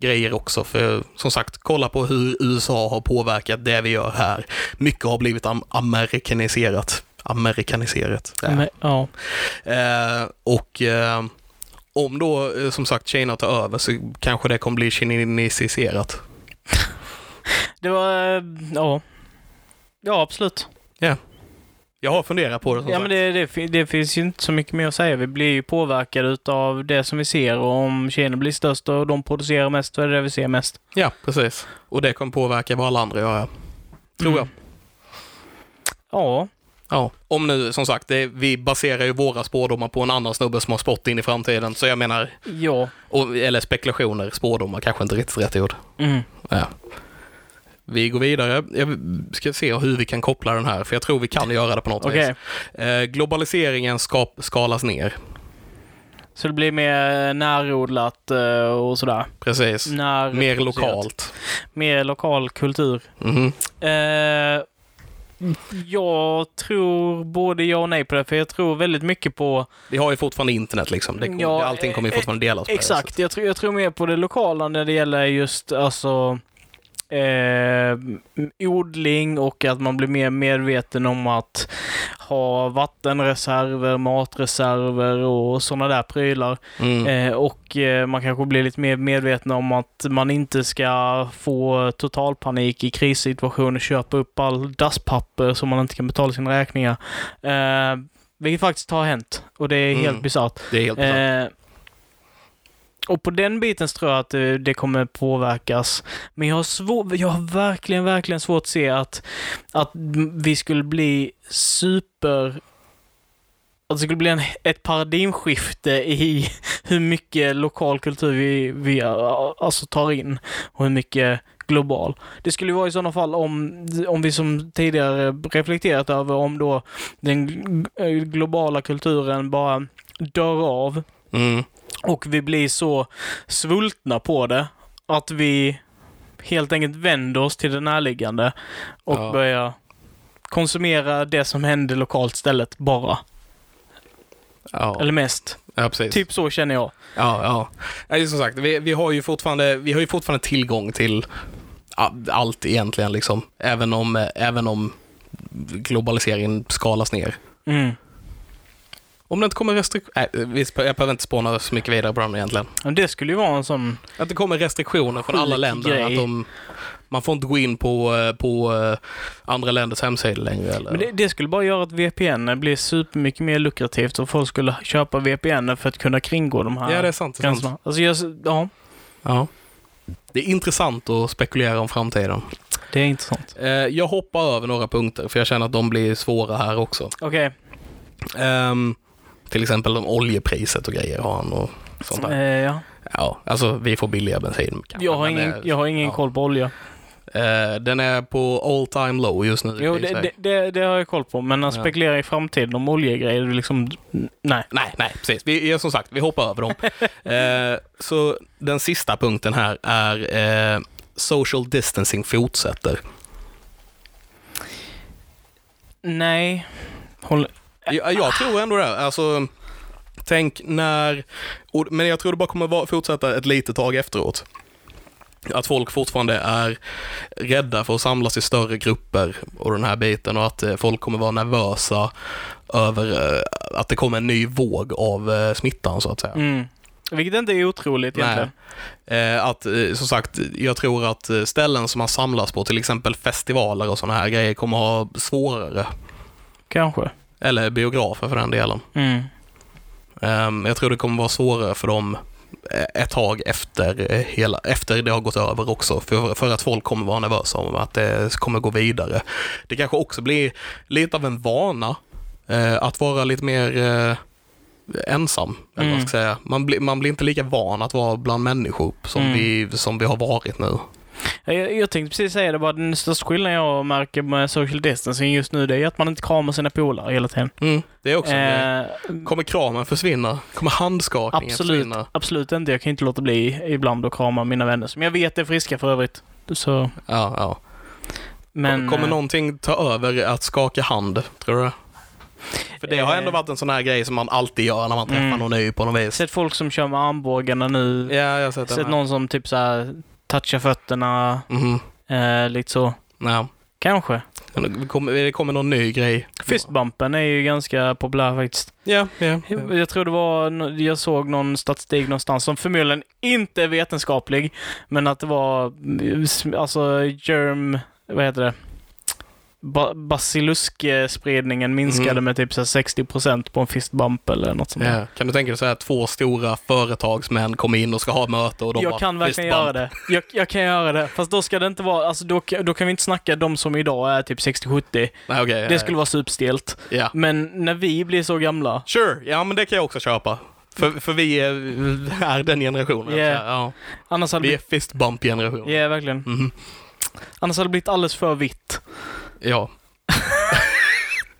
[SPEAKER 2] grejer också. För som sagt, kolla på hur USA har påverkat det vi gör här. Mycket har blivit am- amerikaniserat. Amerikaniserat. Där.
[SPEAKER 3] Men, ja.
[SPEAKER 2] Eh, och eh, om då eh, som sagt Kina tar över så kanske det kommer bli kinesiserat.
[SPEAKER 3] Det var... eh, Ja. Ja, absolut.
[SPEAKER 2] Jag har funderat på det som
[SPEAKER 3] Ja,
[SPEAKER 2] sagt.
[SPEAKER 3] men det, det, fi- det finns ju inte så mycket mer att säga. Vi blir ju påverkade utav det som vi ser och om Kina blir störst och de producerar mest, så är det det vi ser mest.
[SPEAKER 2] Ja, precis. Och det kommer påverka vad alla andra gör. Tror jag.
[SPEAKER 3] Ja.
[SPEAKER 2] Ja, om nu som sagt, det, vi baserar ju våra spådomar på en annan snubbe som har spått in i framtiden. Så jag menar,
[SPEAKER 3] Ja.
[SPEAKER 2] och, eller spekulationer, spådomar kanske inte riktigt rätt ord.
[SPEAKER 3] Mm.
[SPEAKER 2] Ja. Vi går vidare. Jag ska se hur vi kan koppla den här, för jag tror vi kan göra det på något
[SPEAKER 3] Okej.
[SPEAKER 2] vis. Eh, globaliseringen skap, skalas ner.
[SPEAKER 3] Så det blir mer närodlat eh, och sådär.
[SPEAKER 2] Precis.
[SPEAKER 3] När
[SPEAKER 2] Mer lokalt.
[SPEAKER 3] Mer lokal kultur.
[SPEAKER 2] Mhm.
[SPEAKER 3] Eh, jag tror både ja och nej på det, för jag tror väldigt mycket på...
[SPEAKER 2] Vi har ju fortfarande internet liksom. Det kommer,
[SPEAKER 3] Ja,
[SPEAKER 2] allting kommer ju
[SPEAKER 3] eh,
[SPEAKER 2] fortfarande delas på det
[SPEAKER 3] Exakt, jag tror, jag tror mer på det lokala när det gäller just alltså eh, odling och att man blir mer medveten om att ha vattenreserver, matreserver och sådana där prylar.
[SPEAKER 2] sättet. Mm.
[SPEAKER 3] Eh, och eh, man kanske blir lite mer medveten om att man inte ska få totalpanik i krissituationer, köpa upp all dasspapper som man inte kan betala sina räkningar. Eh, vilket faktiskt har hänt och det är helt
[SPEAKER 2] Mm.
[SPEAKER 3] bisarrt.
[SPEAKER 2] Det är helt besatt.
[SPEAKER 3] Eh, och på den biten så tror jag att eh, det kommer påverkas. Men jag har, svår, jag har verkligen, verkligen svårt att se att, att m- vi skulle bli super... Att det skulle bli en, ett paradigmskifte i hur mycket lokal kultur vi, vi eh, alltså tar in och hur mycket global. Det skulle ju vara i sådana fall om, om vi som tidigare reflekterat över om då den gl- eh, globala kulturen bara dör av
[SPEAKER 2] Mm.
[SPEAKER 3] och vi blir så svultna på det att vi helt enkelt vänder oss till det närliggande och
[SPEAKER 2] Ja.
[SPEAKER 3] börjar konsumera det som händer lokalt stället bara.
[SPEAKER 2] Ja.
[SPEAKER 3] Eller mest.
[SPEAKER 2] ja, precis.
[SPEAKER 3] Typ så känner jag.
[SPEAKER 2] Ja, ja. ja. det är Som sagt, vi, vi, har ju fortfarande, vi har ju fortfarande tillgång till a- allt egentligen, liksom. även, om, eh, även om globaliseringen skalas ner.
[SPEAKER 3] Mm.
[SPEAKER 2] Om det inte kommer restriktioner... Äh, visst, jag behöver inte spåna så mycket vidare på dem egentligen.
[SPEAKER 3] Men Det skulle ju vara en sån...
[SPEAKER 2] Att det kommer restriktioner från alla
[SPEAKER 3] Sjuk
[SPEAKER 2] länder.
[SPEAKER 3] grej.
[SPEAKER 2] Att de, man får inte gå in på, eh, på eh, andra länders hemsidor längre. Eller?
[SPEAKER 3] Men det, det skulle bara göra att VPN blir supermycket mer lukrativt och folk skulle köpa VPN för att kunna kringgå de här
[SPEAKER 2] ja, det är sant. Det är, sant.
[SPEAKER 3] gränserna. Alltså, jag, ja,
[SPEAKER 2] Ja. det är intressant att spekulera om framtiden.
[SPEAKER 3] det är intressant.
[SPEAKER 2] Eh, jag hoppar över några punkter, för jag känner att de blir svåra här också.
[SPEAKER 3] Okej.
[SPEAKER 2] Ehm, till exempel om oljepriset och grejer har han och sånt där.
[SPEAKER 3] Eh, ja.
[SPEAKER 2] Ja, alltså vi får billiga bensin. kanske,
[SPEAKER 3] Jag har
[SPEAKER 2] men
[SPEAKER 3] ingen,
[SPEAKER 2] det-
[SPEAKER 3] jag har ingen
[SPEAKER 2] ja.
[SPEAKER 3] koll på olja.
[SPEAKER 2] Eh, den är på all time low just nu.
[SPEAKER 3] Jo,
[SPEAKER 2] i
[SPEAKER 3] det,
[SPEAKER 2] Sverige.
[SPEAKER 3] det, det, det har jag koll på, men att
[SPEAKER 2] Ja.
[SPEAKER 3] spekulera i framtiden om oljegrejer, det är liksom... Nej.
[SPEAKER 2] Nej, nej, precis. Vi, ja, som sagt, vi hoppar över dem. eh, så den sista punkten här är eh, social distancing fortsätter.
[SPEAKER 3] Nej. Håll...
[SPEAKER 2] Jag, jag tror ändå det. Alltså, tänk när... och- Men jag tror det bara kommer vara- fortsätta ett litet tag efteråt. Att folk fortfarande är rädda för att samlas i större grupper och den här biten och att eh, folk kommer vara nervösa över eh, att det kommer en ny våg av eh, smittan så att säga.
[SPEAKER 3] Mm. Vilket inte är otroligt egentligen.
[SPEAKER 2] Nej. Eh, Att, eh, som sagt, jag tror att eh, ställen som man samlas på, till exempel festivaler och sådana här grejer, kommer ha svårare.
[SPEAKER 3] Kanske.
[SPEAKER 2] Eller biografer för den delen.
[SPEAKER 3] Mm.
[SPEAKER 2] Ehm, jag tror det kommer vara svårare för dem ett tag efter, eh, hela, efter det har gått över också, för, för att folk kommer vara nervösa om att det kommer gå vidare. Det kanske också blir lite av en vana eh, att vara lite mer eh, ensam, eller
[SPEAKER 3] Mm.
[SPEAKER 2] vad man ska säga. Man, blir- man blir inte lika van att vara bland människor som,
[SPEAKER 3] Mm.
[SPEAKER 2] vi, som vi har varit nu.
[SPEAKER 3] Jag, jag tänkte precis säga det bara, den största skillnaden jag märker med social distancing just nu, det är att man inte kramar sina polare hela tiden.
[SPEAKER 2] Mm, det är också en grej.
[SPEAKER 3] Eh,
[SPEAKER 2] Kommer kramen försvinna? Kommer handskakningen
[SPEAKER 3] absolut,
[SPEAKER 2] försvinna?
[SPEAKER 3] absolut inte. Jag kan inte låta bli ibland att krama mina vänner, som jag vet är friska för övrigt. Så,
[SPEAKER 2] Ja, ja.
[SPEAKER 3] men...
[SPEAKER 2] Kommer
[SPEAKER 3] eh,
[SPEAKER 2] någonting ta över att skaka hand, tror du? För det har ändå
[SPEAKER 3] Eh.
[SPEAKER 2] varit en sån här grej som man alltid gör när man träffar
[SPEAKER 3] Mm.
[SPEAKER 2] någon ny på något vis.
[SPEAKER 3] sett folk som kör med armbågarna nu.
[SPEAKER 2] Ja, jag har sett
[SPEAKER 3] sett
[SPEAKER 2] den.
[SPEAKER 3] någon som typ såhär touchar fötterna,
[SPEAKER 2] Mm.
[SPEAKER 3] eh, lite så.
[SPEAKER 2] Ja.
[SPEAKER 3] Kanske.
[SPEAKER 2] Det kommer, det kommer någon ny grej.
[SPEAKER 3] Fistbumpen är ju ganska populär faktiskt.
[SPEAKER 2] Ja, ja.
[SPEAKER 3] Jag, jag tror det var, nå- jag såg någon statistik någonstans som förmodligen inte är vetenskaplig, men att det var mm, s- alltså germ, vad heter det? Ba- Basiluskspridningen minskade
[SPEAKER 2] Mhm.
[SPEAKER 3] med typ så här 60% på en fistbump eller något sånt där.
[SPEAKER 2] Ja. Kan du tänka dig så här att två stora företagsmän kommer in och ska ha möte och de bara,
[SPEAKER 3] Jag kan verkligen
[SPEAKER 2] "Fist bump."
[SPEAKER 3] göra det. Jag, jag kan göra det. Fast då ska det inte vara, alltså då, då kan vi inte snacka de som idag är typ 60-70.
[SPEAKER 2] Nej, okej.
[SPEAKER 3] Det skulle vara superstelt.
[SPEAKER 2] Ja.
[SPEAKER 3] Men när vi blir så gamla,
[SPEAKER 2] Sure, ja men det kan jag också köpa. För, för vi är, är den generationen. alltså.
[SPEAKER 3] Yeah.
[SPEAKER 2] Ja.
[SPEAKER 3] annars hade
[SPEAKER 2] Vi är
[SPEAKER 3] det
[SPEAKER 2] fist bump generationen
[SPEAKER 3] Ja, verkligen.
[SPEAKER 2] Mhm.
[SPEAKER 3] Annars hade det blivit alldeles för vitt.
[SPEAKER 2] Ja.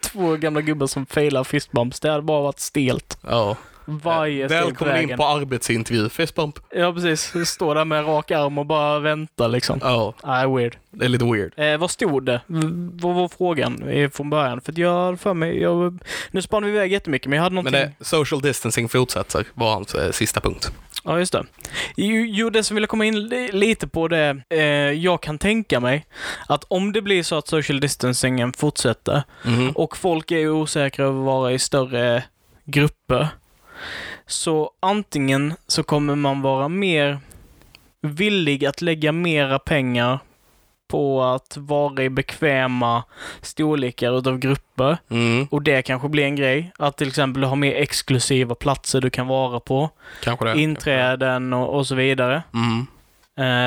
[SPEAKER 3] Två gamla gubbar som failar fistbumps. Det hade bara varit stelt.
[SPEAKER 2] ja.
[SPEAKER 3] Varje steg på
[SPEAKER 2] Eh, Välkommen in
[SPEAKER 3] vägen.
[SPEAKER 2] på arbetsintervju, fist bump.
[SPEAKER 3] Ja, precis. Stå där med rak arm och bara vänta liksom.
[SPEAKER 2] Ja,
[SPEAKER 3] Nej, weird.
[SPEAKER 2] det är lite weird.
[SPEAKER 3] Eh, vad stod det? V- vad var frågan eh, från början? För att jag hade för mig... Jag, nu spann vi iväg jättemycket, men jag hade
[SPEAKER 2] Men
[SPEAKER 3] någonting...
[SPEAKER 2] det, social distancing fortsätter var hans eh, sista punkt.
[SPEAKER 3] Ja, just det. Jo, jo, det som vill jag komma in li- lite på det, eh, jag kan tänka mig att om det blir så att social distancingen fortsätter
[SPEAKER 2] Mhm.
[SPEAKER 3] och folk är ju osäkra över att vara i större grupper, så antingen så kommer man vara mer villig att lägga mera pengar på att vara i bekväma storlekar utav grupper.
[SPEAKER 2] Mm.
[SPEAKER 3] Och det kanske blir en grej. Att till exempel ha mer exklusiva platser du kan vara på
[SPEAKER 2] Kanske det.
[SPEAKER 3] inträden och, och så vidare.
[SPEAKER 2] Mm.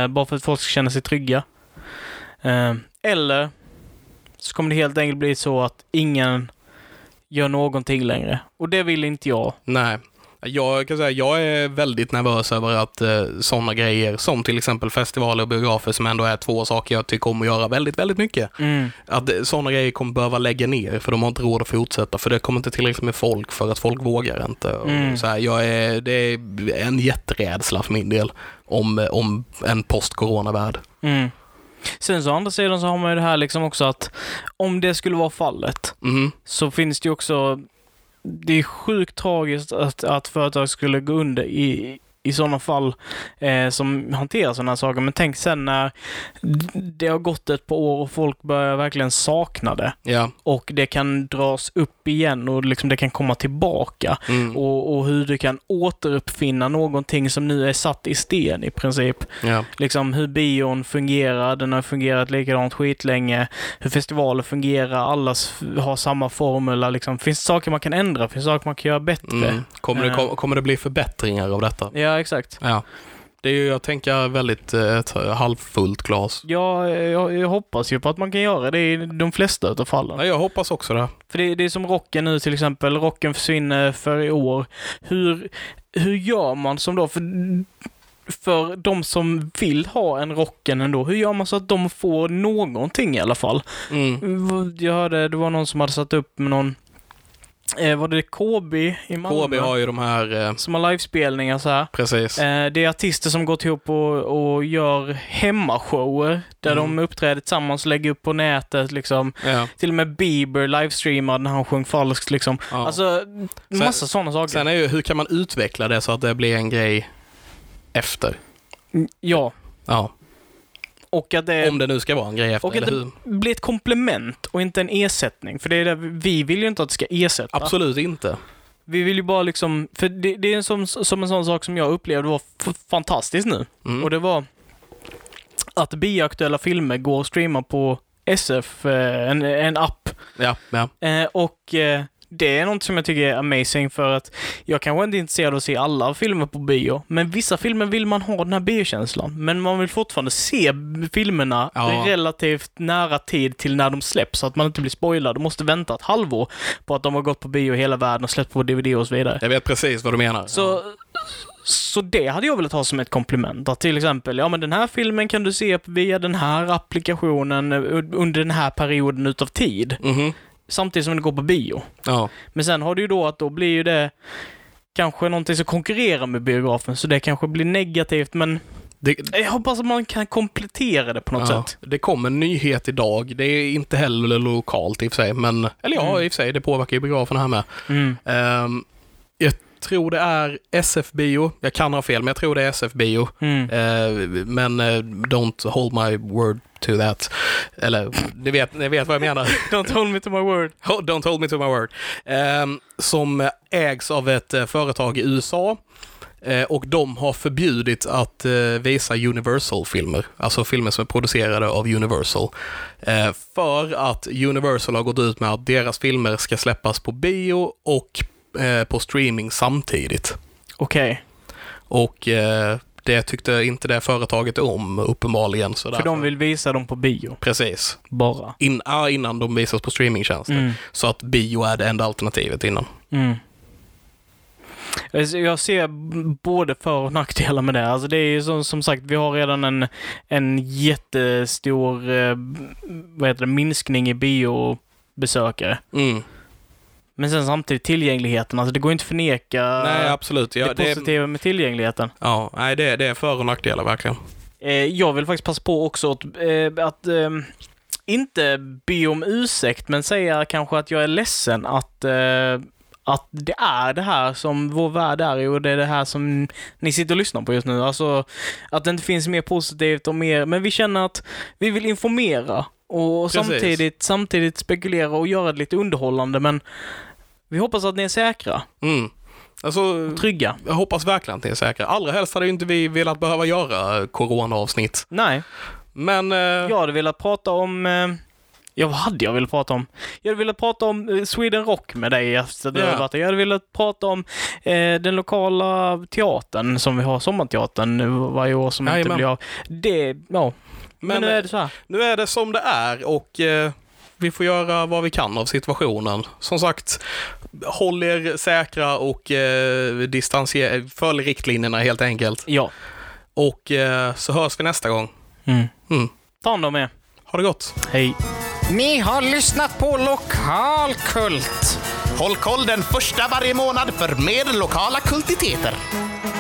[SPEAKER 3] Eh, bara för att folk ska känna sig trygga. Eh, eller så kommer det helt enkelt bli så att ingen gör någonting längre. Och det vill inte jag.
[SPEAKER 2] Nej. Jag kan säga jag är väldigt nervös över att eh, sådana grejer som till exempel festivaler och biografer som ändå är två saker jag tycker om att göra väldigt, väldigt mycket. Att sådana grejer kommer behöva lägga ner för de har inte råd att fortsätta för det kommer inte tillräckligt med folk för att folk vågar inte. Och
[SPEAKER 3] Mm.
[SPEAKER 2] Så här, jag är, det är en jätterädsla för min del om, om en post-corona-värld.
[SPEAKER 3] Mm. Sen så å andra sidan så har man ju det här liksom också att om det skulle vara fallet
[SPEAKER 2] Mm.
[SPEAKER 3] så finns det ju också... Det är sjukt tragiskt att, att företag skulle gå under i, i sådana fall eh, som hanterar sådana här saker. Men tänk sen när det har gått ett par år och folk börjar verkligen sakna det
[SPEAKER 2] Ja.
[SPEAKER 3] och det kan dras upp igen och liksom det kan komma tillbaka.
[SPEAKER 2] Mm.
[SPEAKER 3] Och, och hur du kan återuppfinna någonting som nu är satt i sten i princip.
[SPEAKER 2] ja.
[SPEAKER 3] Liksom hur bion fungerar, den har fungerat likadant skitlänge. Hur festivaler fungerar, alla s- har samma formula. Liksom. Finns det saker man kan ändra? Finns det saker man kan göra bättre?
[SPEAKER 2] Mm. Kommer, det,
[SPEAKER 3] Eh.
[SPEAKER 2] kom- kommer det bli förbättringar av detta?
[SPEAKER 3] Ja, exakt.
[SPEAKER 2] Ja. Det är ju, jag tänker, väldigt eh, ett halvfullt glas.
[SPEAKER 3] Ja, jag, jag hoppas ju på att man kan göra det i de flesta utav fallen.
[SPEAKER 2] Ja, jag hoppas också det.
[SPEAKER 3] För det, det är som rocken nu till exempel. Rocken försvinner för i år. Hur, hur gör man som då? För, för de som vill ha en rocken ändå, hur gör man så att de får någonting i alla fall?
[SPEAKER 2] Mm.
[SPEAKER 3] V- Jag hörde, det var någon som hade satt upp med någon, eh, var det KB i Malmö?
[SPEAKER 2] KB har ju de här, eh,
[SPEAKER 3] Som har livespelningar så här.
[SPEAKER 2] precis.
[SPEAKER 3] Eh, det är artister som gått ihop och, och gör hemmashower där
[SPEAKER 2] Mm.
[SPEAKER 3] de uppträder tillsammans, lägger upp på nätet liksom.
[SPEAKER 2] Ja.
[SPEAKER 3] Till och med Bieber livestreamade när han sjöng falskt liksom.
[SPEAKER 2] Ja.
[SPEAKER 3] Alltså, massa sådana saker.
[SPEAKER 2] Sen är ju, hur kan man utveckla det så att det blir en grej efter?
[SPEAKER 3] Mm, ja,
[SPEAKER 2] Ja.
[SPEAKER 3] och att det,
[SPEAKER 2] Om det nu ska vara en grej efter,
[SPEAKER 3] Eh. och
[SPEAKER 2] eller
[SPEAKER 3] att
[SPEAKER 2] hur?
[SPEAKER 3] det blir ett komplement och inte en ersättning. För det är det, vi vill ju inte att det ska ersätta.
[SPEAKER 2] Absolut inte.
[SPEAKER 3] Vi vill ju bara liksom, för det, det är en som, som en sån sak som jag upplevde var f- fantastiskt nu.
[SPEAKER 2] Mm.
[SPEAKER 3] Och det var att biaktuella filmer går att streama på SF, eh, en, en app.
[SPEAKER 2] Ja, ja.
[SPEAKER 3] Eh, och eh, det är något som jag tycker är amazing för att jag kanske inte är intresserad av att se alla filmer på bio, men vissa filmer vill man ha den här biokänslan. Men man vill fortfarande se filmerna
[SPEAKER 2] Ja.
[SPEAKER 3] relativt nära tid till när de släpps, så att man inte blir spoilad och måste vänta ett halvår på att de har gått på bio i hela världen och släppt på DVD och så vidare.
[SPEAKER 2] Jag vet precis vad du menar.
[SPEAKER 3] Så, så det hade jag velat ha som ett komplement. Att till exempel, ja men den här filmen kan du se via den här applikationen eh, un- under den här perioden utav tid.
[SPEAKER 2] Mhm.
[SPEAKER 3] Samtidigt som den går på bio.
[SPEAKER 2] Ja.
[SPEAKER 3] Men sen har du ju då att då blir ju det kanske någonting som konkurrerar med biografen, så det kanske blir negativt, men
[SPEAKER 2] Det,
[SPEAKER 3] jag hoppas att man kan komplettera det på något
[SPEAKER 2] ja.
[SPEAKER 3] sätt.
[SPEAKER 2] det kom en nyhet idag. Det är inte heller lokalt i och för sig, men... Eller ja, i och för sig, det påverkar ju biograferna här med.
[SPEAKER 3] Mm.
[SPEAKER 2] Ehm, jag tror det är SF-bio. Jag kan ha fel, men jag tror det är SF-bio.
[SPEAKER 3] Mm.
[SPEAKER 2] Eh, men eh, don't hold my word to that. Eller, ni vet, ni vet vad jag menar.
[SPEAKER 3] Don't hold me to my word.
[SPEAKER 2] Ho- Oh, Don't hold me to my word. Ehm, som ägs av ett eh, företag i USA. Eh, och de har förbjudit att eh, visa Universal-filmer. Alltså filmer som är producerade av Universal. Eh, för att Universal har gått ut med att deras filmer ska släppas på bio och eh, på streaming samtidigt.
[SPEAKER 3] Okej,
[SPEAKER 2] Och eh, det tyckte inte det företaget om uppenbarligen. Så
[SPEAKER 3] för de vill visa dem på bio,
[SPEAKER 2] Precis.
[SPEAKER 3] bara.
[SPEAKER 2] In, ja, innan de visas på streamingtjänster.
[SPEAKER 3] Mm.
[SPEAKER 2] Så att bio är det enda alternativet innan.
[SPEAKER 3] Mm. Alltså, Jag ser b- både för och nackdelar med det. Alltså det är ju som, som sagt, vi har redan en, en jättestor eh, vad heter det, minskning i biobesökare.
[SPEAKER 2] Mm.
[SPEAKER 3] Men sen samtidigt tillgängligheten. Alltså det går inte att förneka
[SPEAKER 2] Nej, absolut. Ja,
[SPEAKER 3] det
[SPEAKER 2] det,
[SPEAKER 3] positiva med tillgängligheten.
[SPEAKER 2] ja, nej, det, det är för och nackdelar verkligen.
[SPEAKER 3] Eh, jag vill faktiskt passa på också att, eh, att ehm, inte be om ursäkt, men säga kanske att jag är ledsen att, eh, att det är det här som vår värld är och det är det här som ni sitter och lyssnar på just nu. Alltså att det inte finns mer positivt och mer, men vi känner att vi vill informera och
[SPEAKER 2] Precis.
[SPEAKER 3] samtidigt, samtidigt spekulera och göra det lite underhållande, men vi hoppas att ni är säkra,
[SPEAKER 2] Mm. Alltså,
[SPEAKER 3] trygga.
[SPEAKER 2] jag hoppas verkligen att ni är säkra. Allra helst hade ju inte vi velat behöva göra eh, coronaavsnitt.
[SPEAKER 3] Nej.
[SPEAKER 2] Men eh,
[SPEAKER 3] Jag hade velat prata om... Eh, ja, vad hade jag velat prata om? Jag hade velat prata om eh, Sweden Rock med dig efter att du
[SPEAKER 2] Ja.
[SPEAKER 3] hade varit där. Jag hade velat prata om eh, den lokala teatern som vi har, Sommarteatern, nu varje år som inte
[SPEAKER 2] Jajamän.
[SPEAKER 3] blir av. Det, ja. Men,
[SPEAKER 2] men,
[SPEAKER 3] nu är
[SPEAKER 2] eh,
[SPEAKER 3] det så här.
[SPEAKER 2] nu är det som det är och eh, vi får göra vad vi kan av situationen. Som sagt, håll er säkra och eh, distansier- följ riktlinjerna helt enkelt.
[SPEAKER 3] Ja.
[SPEAKER 2] Och eh, så hörs vi nästa gång.
[SPEAKER 3] Mm.
[SPEAKER 2] Mm.
[SPEAKER 3] Ta hand om er.
[SPEAKER 2] Ha det gott!
[SPEAKER 3] Hej.
[SPEAKER 4] Ni har lyssnat på Lokalkult.
[SPEAKER 1] Håll koll den första varje månad för mer lokala kultiteter.